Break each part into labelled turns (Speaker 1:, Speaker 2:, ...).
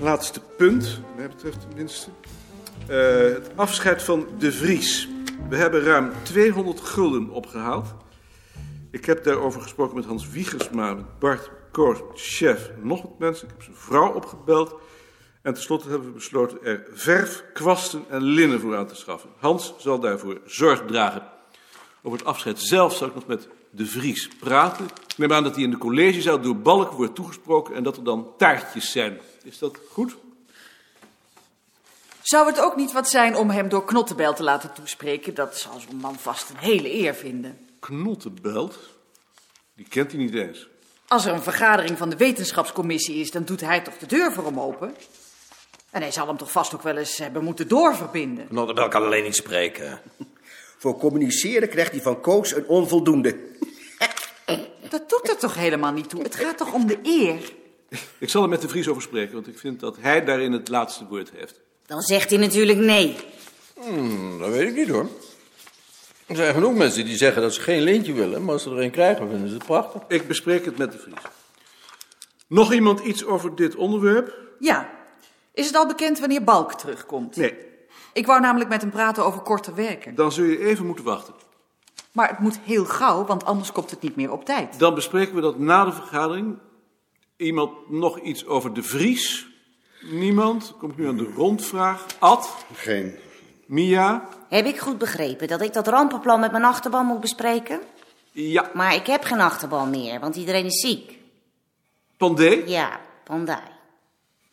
Speaker 1: laatste punt, wat mij betreft tenminste. Eh, het afscheid van De Vries. We hebben ruim 200 gulden opgehaald. Ik heb daarover gesproken met Hans Wiegersma, met Bart Koos, chef, nog wat mensen. Ik heb zijn vrouw opgebeld. En tenslotte hebben we besloten er verf, kwasten en linnen voor aan te schaffen. Hans zal daarvoor zorg dragen. Over het afscheid zelf zou ik nog met de Vries praten. Ik neem aan dat hij in de collegezaal door Balk wordt toegesproken en dat er dan taartjes zijn. Is dat goed?
Speaker 2: Zou het ook niet wat zijn om hem door Knottenbel te laten toespreken? Dat zal zo'n man vast een hele eer vinden.
Speaker 1: Knottenbelt? Die kent hij niet eens.
Speaker 2: Als er een vergadering van de wetenschapscommissie is, dan doet hij toch de deur voor hem open? En hij zal hem toch vast ook wel eens hebben moeten doorverbinden.
Speaker 3: Nottenbel kan alleen niet spreken.
Speaker 4: Voor communiceren krijgt hij van Koos een onvoldoende.
Speaker 2: Dat doet er toch helemaal niet toe? Het gaat toch om de eer?
Speaker 1: Ik zal er met de Vries over spreken, want ik vind dat hij daarin het laatste woord heeft.
Speaker 5: Dan zegt hij natuurlijk nee.
Speaker 6: Dat weet ik niet hoor. Er zijn genoeg mensen die zeggen dat ze geen lintje willen, maar als ze er een krijgen, vinden ze het prachtig.
Speaker 1: Ik bespreek het met de Vries. Nog iemand iets over dit onderwerp?
Speaker 2: Ja. Is het al bekend wanneer Balk terugkomt?
Speaker 1: Nee.
Speaker 2: Ik wou namelijk met hem praten over korte werken.
Speaker 1: Dan zul je even moeten wachten.
Speaker 2: Maar het moet heel gauw, want anders komt het niet meer op tijd.
Speaker 1: Dan bespreken we dat na de vergadering. Iemand nog iets over de Vries? Niemand? Komt nu aan de rondvraag. Ad?
Speaker 7: Geen.
Speaker 1: Mia?
Speaker 5: Heb ik goed begrepen dat ik dat rampenplan met mijn achterban moet bespreken?
Speaker 1: Ja.
Speaker 5: Maar ik heb geen achterban meer, want iedereen is ziek.
Speaker 1: Pandé?
Speaker 5: Ja, Pandai.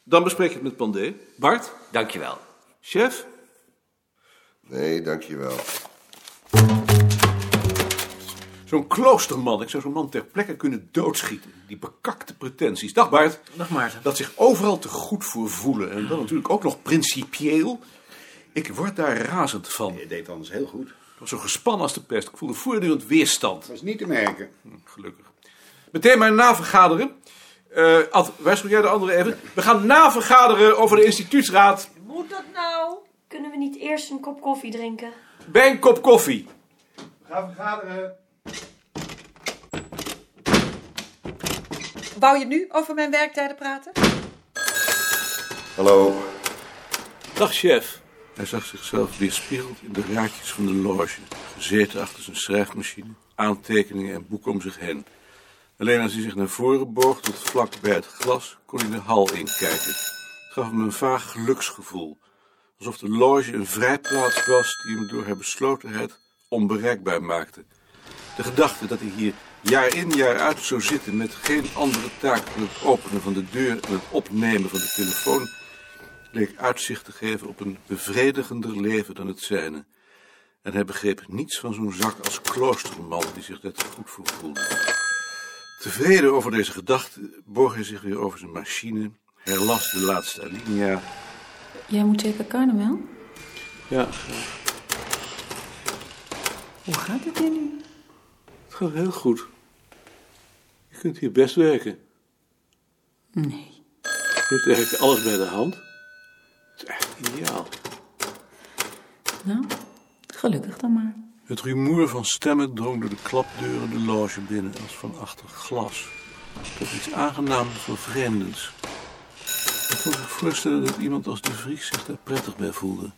Speaker 1: Dan bespreek je het met Pandé. Bart?
Speaker 3: Dankjewel.
Speaker 1: Chef?
Speaker 7: Nee, dankjewel.
Speaker 1: Zo'n kloosterman. Ik zou zo'n man ter plekke kunnen doodschieten. Die bekakte pretenties. Dag Bart.
Speaker 8: Dag Maarten.
Speaker 1: Dat zich overal te goed voor voelen. En dan natuurlijk ook nog principieel. Ik word daar razend van.
Speaker 7: Je deed anders heel goed.
Speaker 1: Ik was zo gespannen als de pest. Ik voelde voortdurend weerstand.
Speaker 7: Dat is niet te merken.
Speaker 1: Gelukkig. Meteen maar navergaderen. Eh Ad, waarschuw jij de anderen even? We gaan navergaderen over de instituutsraad
Speaker 9: Moet dat nou? Kunnen we niet eerst een kop koffie drinken?
Speaker 1: bij een kop koffie.
Speaker 2: Wou je nu over mijn werktijden praten?
Speaker 7: Hallo.
Speaker 1: Dag, chef. Hij zag zichzelf weerspiegeld in de raadjes van de loge. Gezeten achter zijn schrijfmachine, aantekeningen en boeken om zich heen. Alleen als hij zich naar voren boog tot vlak bij het glas, kon hij de hal inkijken. Het gaf hem een vaag geluksgevoel. Alsof de loge een vrijplaats was die hem door haar beslotenheid onbereikbaar maakte. De gedachte dat hij hier jaar in jaar uit zou zitten met geen andere taak dan het openen van de deur en het opnemen van de telefoon leek uitzicht te geven op een bevredigender leven dan het zijne. En hij begreep niets van zo'n zak als kloosterman die zich net goed voor voelde. Tevreden over deze gedachte boog hij zich weer over zijn machine, herlas de laatste alinea.
Speaker 10: Jij moet zeker carnaval?
Speaker 6: Ja,
Speaker 10: Hoe gaat het je nu?
Speaker 6: het gaat heel goed. Je kunt hier best werken.
Speaker 10: Nee.
Speaker 6: Je hebt eigenlijk alles bij de hand. Het is echt ideaal.
Speaker 10: Nou, gelukkig dan maar.
Speaker 1: Het rumoer van stemmen drong door de klapdeuren de loge binnen als van achter glas. Tot iets aangenaam vervreemdends. Ik kon zich voorstellen dat iemand als de Vries zich daar prettig bij voelde.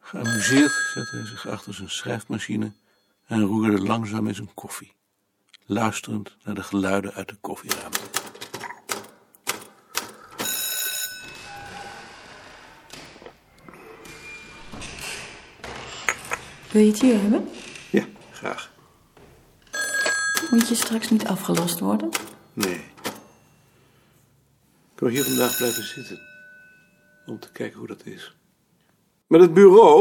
Speaker 1: Geamuseerd zette hij zich achter zijn schrijfmachine en roerde langzaam in zijn koffie, luisterend naar de geluiden uit de koffieruimte.
Speaker 10: Wil je het hier hebben?
Speaker 1: Ja, graag.
Speaker 10: Moet je straks niet afgelost worden?
Speaker 1: Nee. Ik wil hier vandaag blijven zitten. Om te kijken hoe dat is. Met het bureau?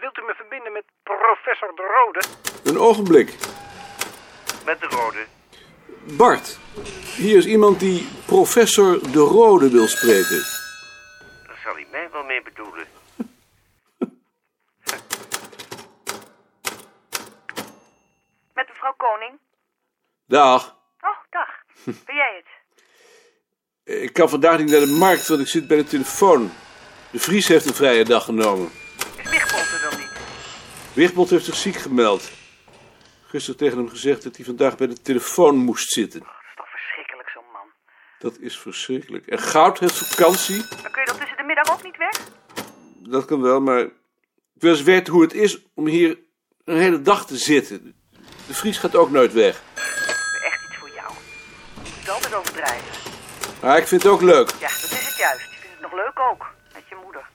Speaker 11: Wilt u me verbinden met professor De Rode?
Speaker 1: Een ogenblik.
Speaker 11: Met De Rode.
Speaker 1: Bart, hier is iemand die professor De Rode wil spreken.
Speaker 11: Daar zal hij mij wel mee bedoelen.
Speaker 9: Met mevrouw Koning.
Speaker 1: Dag.
Speaker 9: Oh, dag. Ben jij het?
Speaker 1: Ik kan vandaag niet naar de markt, want ik zit bij de telefoon. De Vries heeft een vrije dag genomen.
Speaker 9: Is Wichbold er dan niet?
Speaker 1: Wichtbold heeft zich ziek gemeld. Gisteren tegen hem gezegd dat hij vandaag bij de telefoon moest zitten.
Speaker 9: Dat is toch verschrikkelijk, zo'n man.
Speaker 1: Dat is verschrikkelijk. En goud heeft vakantie.
Speaker 8: Dan kun je dat tussen de middag ook niet weg?
Speaker 1: Dat kan wel, maar ik wil eens weten hoe het is om hier een hele dag te zitten. De Vries gaat ook nooit weg.
Speaker 8: Echt iets voor jou. Je moet altijd overdrijven.
Speaker 1: Maar ik vind het ook leuk.
Speaker 8: Ja, dat is het juist. Je vindt het nog leuk ook. Met je moeder.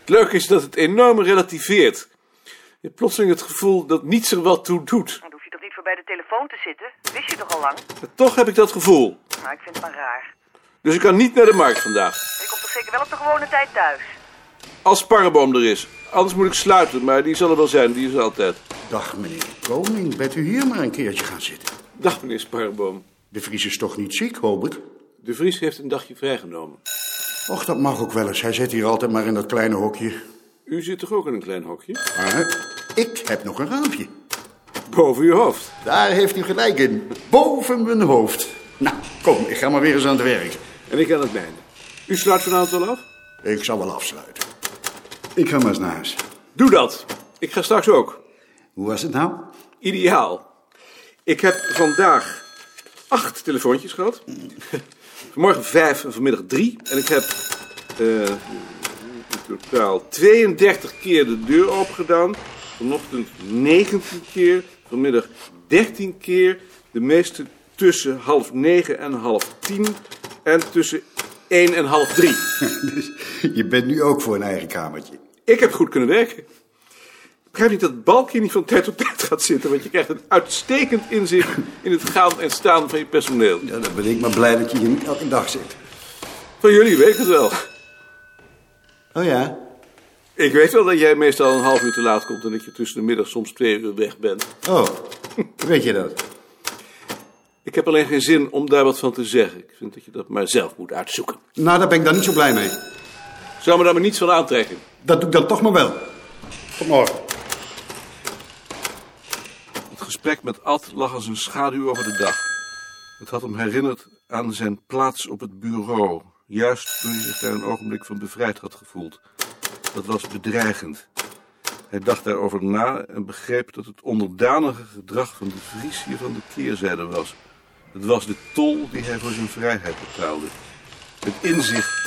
Speaker 1: Het leuke is dat het enorm relativeert. Je hebt plotseling het gevoel dat niets er wat toe doet.
Speaker 8: Dan hoef je toch niet voor bij de telefoon te zitten? Wist je toch al lang?
Speaker 1: Maar toch heb ik dat gevoel.
Speaker 8: Maar ik vind het maar raar.
Speaker 1: Dus ik kan niet naar de markt vandaag.
Speaker 8: Je komt toch zeker wel op de gewone tijd thuis?
Speaker 1: Als Parreboom er is. Anders moet ik sluiten, maar die zal er wel zijn. Die is er altijd.
Speaker 7: Dag meneer de Koning, bent u hier maar een keertje gaan zitten.
Speaker 1: Dag meneer Sparreboom.
Speaker 7: De Vries is toch niet ziek, Hobert?
Speaker 1: De Vries heeft een dagje vrijgenomen.
Speaker 7: Och, dat mag ook wel eens. Hij zit hier altijd maar in dat kleine hokje.
Speaker 1: U zit toch ook in een klein hokje?
Speaker 7: Maar ik heb nog een raampje.
Speaker 1: Boven uw hoofd?
Speaker 7: Daar heeft u gelijk in. Boven mijn hoofd. Nou, kom, ik ga maar weer eens aan het werk.
Speaker 1: En ik aan het mijne. U sluit vanavond wel af?
Speaker 7: Ik zal wel afsluiten. Ik ga maar eens naar huis.
Speaker 1: Doe dat. Ik ga straks ook.
Speaker 7: Hoe was het nou?
Speaker 1: Ideaal. Ik heb vandaag acht telefoontjes gehad. Vanmorgen vijf en vanmiddag drie. En ik heb eh, in totaal 32 keer de deur opengedaan. Vanochtend 19 keer. Vanmiddag 13 keer. De meeste tussen half negen en half tien. En tussen één en half drie.
Speaker 7: Dus je bent nu ook voor een eigen kamertje.
Speaker 1: Ik heb goed kunnen werken. Ik begrijp niet dat Balkje niet van tijd tot tijd gaat zitten, want je krijgt een uitstekend inzicht in het gaan en staan van je personeel.
Speaker 7: Ja, dan ben ik maar blij dat je hier niet elke dag zit.
Speaker 1: Van jullie weet ik het wel.
Speaker 7: Oh ja?
Speaker 1: Ik weet wel dat jij meestal een half uur te laat komt en dat je tussen de middag soms twee uur weg bent.
Speaker 7: Oh, weet je dat?
Speaker 1: Ik heb alleen geen zin om daar wat van te zeggen. Ik vind dat je dat maar zelf moet uitzoeken.
Speaker 7: Nou, daar ben ik dan niet zo blij mee.
Speaker 1: Zou me daar maar niets van aantrekken.
Speaker 7: Dat doe ik dan toch maar wel. Tot morgen.
Speaker 1: Het gesprek met Ad lag als een schaduw over de dag. Het had hem herinnerd aan zijn plaats op het bureau. Juist toen hij zich daar een ogenblik van bevrijd had gevoeld. Dat was bedreigend. Hij dacht daarover na en begreep dat het onderdanige gedrag van de Vries hier van de keerzijde was. Het was de tol die hij voor zijn vrijheid betaalde. Het inzicht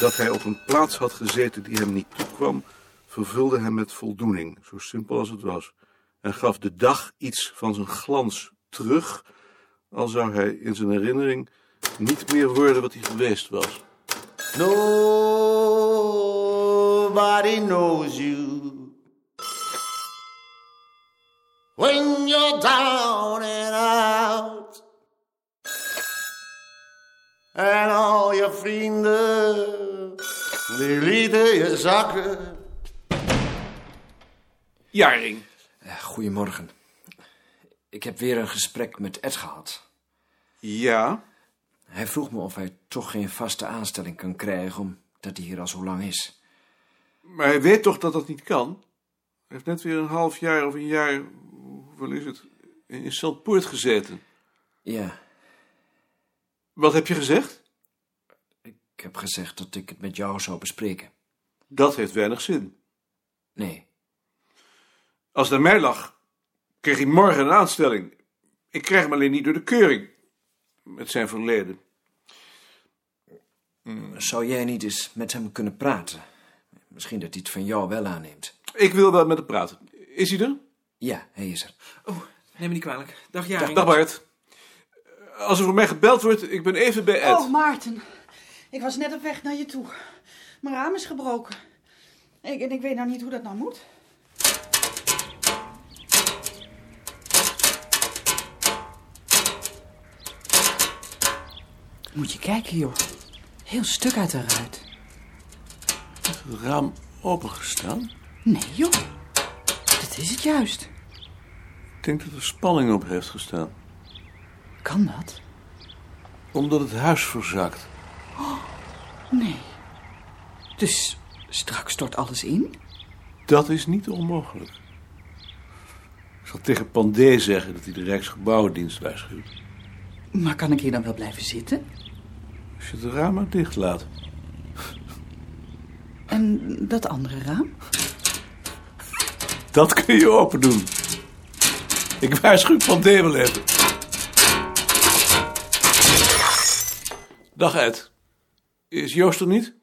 Speaker 1: dat hij op een plaats had gezeten die hem niet toekwam, vervulde hem met voldoening, zo simpel als het was, en gaf de dag iets van zijn glans terug, al zou hij in zijn herinnering niet meer worden wat hij geweest was.
Speaker 12: Nobody knows you when you're down and out, and all je vrienden die lieten je zakken.
Speaker 1: Jaring.
Speaker 3: Goedemorgen. Ik heb weer een gesprek met Ed gehad.
Speaker 1: Ja?
Speaker 3: Hij vroeg me of hij toch geen vaste aanstelling kan krijgen omdat hij hier al zo lang is.
Speaker 1: Maar hij weet toch dat dat niet kan? Hij heeft net weer een half jaar of een jaar, hoeveel is het, in Stelpoort gezeten.
Speaker 3: Ja,
Speaker 1: Wat heb je gezegd?
Speaker 3: ik heb gezegd dat ik het met jou zou bespreken.
Speaker 1: Dat heeft weinig zin.
Speaker 3: Nee,
Speaker 1: Als het aan mij lag, kreeg hij morgen een aanstelling. Ik krijg hem alleen niet door de keuring. Met zijn verleden.
Speaker 3: zou jij niet eens met hem kunnen praten? Misschien dat hij het van jou wel aanneemt.
Speaker 1: Ik wil wel met hem praten. Is hij er?
Speaker 3: Ja, hij is er.
Speaker 13: Oh, Neem me niet kwalijk. Dag
Speaker 1: Dag,
Speaker 13: Jaring.
Speaker 1: dag Bart. Als er voor mij gebeld wordt, ik ben even bij Ed.
Speaker 2: Oh, Maarten. Ik was net op weg naar je toe. Mijn raam is gebroken. Ik, en ik weet nou niet hoe dat nou moet.
Speaker 13: Moet je kijken, joh. Heel stuk uit de ruit.
Speaker 1: Het raam opengestaan?
Speaker 13: Nee, joh. Dat is het juist.
Speaker 1: Ik denk dat er spanning op heeft gestaan.
Speaker 13: Kan dat?
Speaker 1: Omdat het huis verzakt.
Speaker 13: Nee. Dus straks stort alles in?
Speaker 1: Dat is niet onmogelijk. Ik zal tegen Pandé zeggen dat hij de Rijksgebouwendienst waarschuwt.
Speaker 13: Maar kan ik hier dan wel blijven zitten?
Speaker 1: Als je het raam maar dicht laat.
Speaker 13: En dat andere raam?
Speaker 1: Dat kun je open doen. Ik waarschuw Pandé wel even. Dag Ed. Is Joost er niet?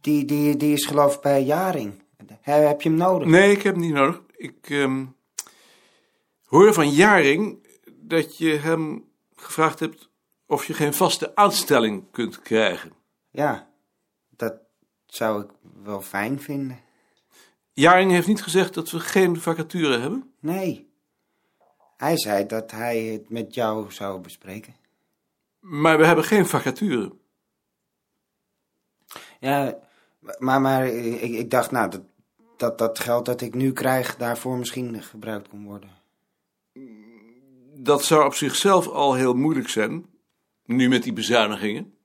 Speaker 14: Die, die, die is geloof ik bij Jaring. He- heb je hem nodig?
Speaker 1: Nee, ik heb hem niet nodig. Ik ehm, hoor van Jaring dat je hem gevraagd hebt of je geen vaste aanstelling kunt krijgen.
Speaker 14: Ja, dat zou ik wel fijn vinden.
Speaker 1: Jaring heeft niet gezegd dat we geen vacature hebben.
Speaker 14: Nee. Hij zei dat hij het met jou zou bespreken.
Speaker 1: Maar we hebben geen vacature.
Speaker 14: Ja, maar, maar ik, ik dacht, nou, dat, dat dat geld dat ik nu krijg daarvoor misschien gebruikt kon worden.
Speaker 1: Dat zou op zichzelf al heel moeilijk zijn, nu met die bezuinigingen.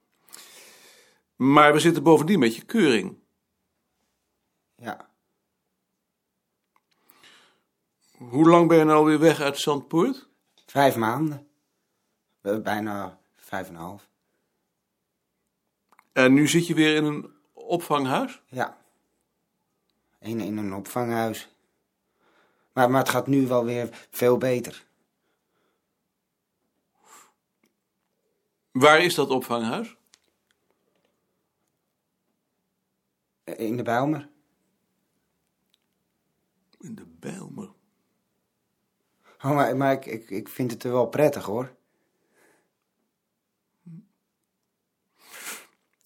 Speaker 1: Maar we zitten bovendien met je keuring.
Speaker 14: Ja.
Speaker 1: Hoe lang ben je nou weer weg uit Zandpoort?
Speaker 14: Vijf maanden. Eh, Bijna vijf en een half.
Speaker 1: En nu zit je weer in een opvanghuis?
Speaker 14: Ja. In, in een opvanghuis. Maar, maar het gaat nu wel weer veel beter.
Speaker 1: Waar is dat opvanghuis?
Speaker 14: Eh, In de Bijlmer.
Speaker 1: In de Bijlmer.
Speaker 14: Oh, maar maar ik, ik, ik vind het er wel prettig hoor.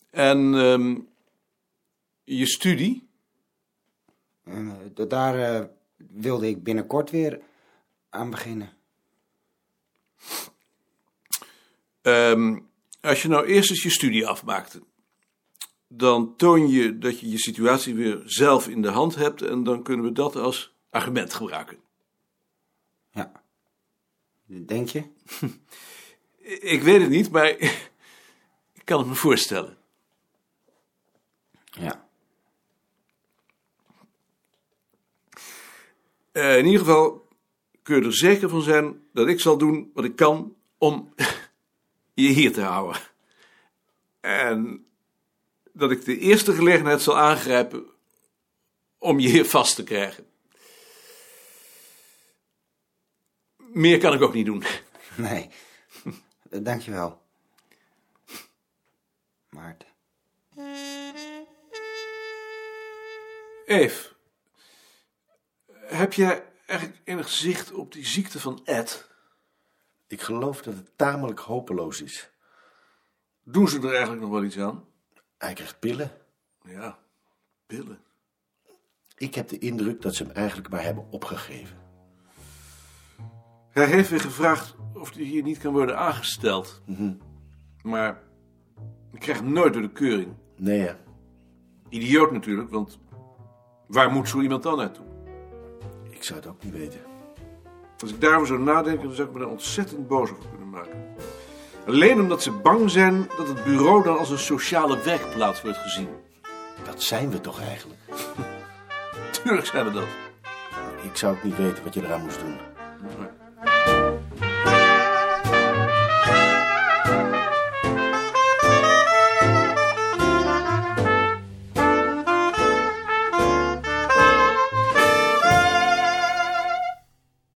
Speaker 1: En ehm, je studie?
Speaker 14: Eh, da- daar eh, wilde ik binnenkort weer aan beginnen.
Speaker 1: Ehm, als je nou eerst eens je studie afmaakte, dan toon je dat je je situatie weer zelf in de hand hebt en dan kunnen we dat als argument gebruiken.
Speaker 14: Denk je?
Speaker 1: Ik weet het niet, maar ik kan het me voorstellen.
Speaker 14: Ja.
Speaker 1: Eh, in ieder geval kun je er zeker van zijn dat ik zal doen wat ik kan om je hier te houden. En dat ik de eerste gelegenheid zal aangrijpen om je hier vast te krijgen. Meer kan ik ook niet doen.
Speaker 14: Nee. Eh, Dankjewel. Maarten.
Speaker 1: Eve, heb jij eigenlijk enig zicht op die ziekte van Ed?
Speaker 15: Ik geloof dat het tamelijk hopeloos is.
Speaker 1: Doen ze er eigenlijk nog wel iets aan?
Speaker 15: Hij krijgt pillen.
Speaker 1: Ja, pillen.
Speaker 15: Ik heb de indruk dat ze hem eigenlijk maar hebben opgegeven.
Speaker 1: Hij heeft weer gevraagd of hij hier niet kan worden aangesteld.
Speaker 15: Mhm.
Speaker 1: Maar ik krijg hem nooit door de keuring.
Speaker 15: Nee, hè?
Speaker 1: Idioot natuurlijk, want waar moet zo iemand dan naartoe?
Speaker 15: ik zou het ook niet weten.
Speaker 1: Als ik daarover zou nadenken, dan zou ik me daar ontzettend boos over kunnen maken. Alleen omdat ze bang zijn dat het bureau dan als een sociale werkplaats wordt gezien.
Speaker 15: Dat zijn we toch eigenlijk?
Speaker 1: Tuurlijk zijn we dat.
Speaker 15: Ik zou het niet weten wat je eraan moest doen.
Speaker 1: Maar-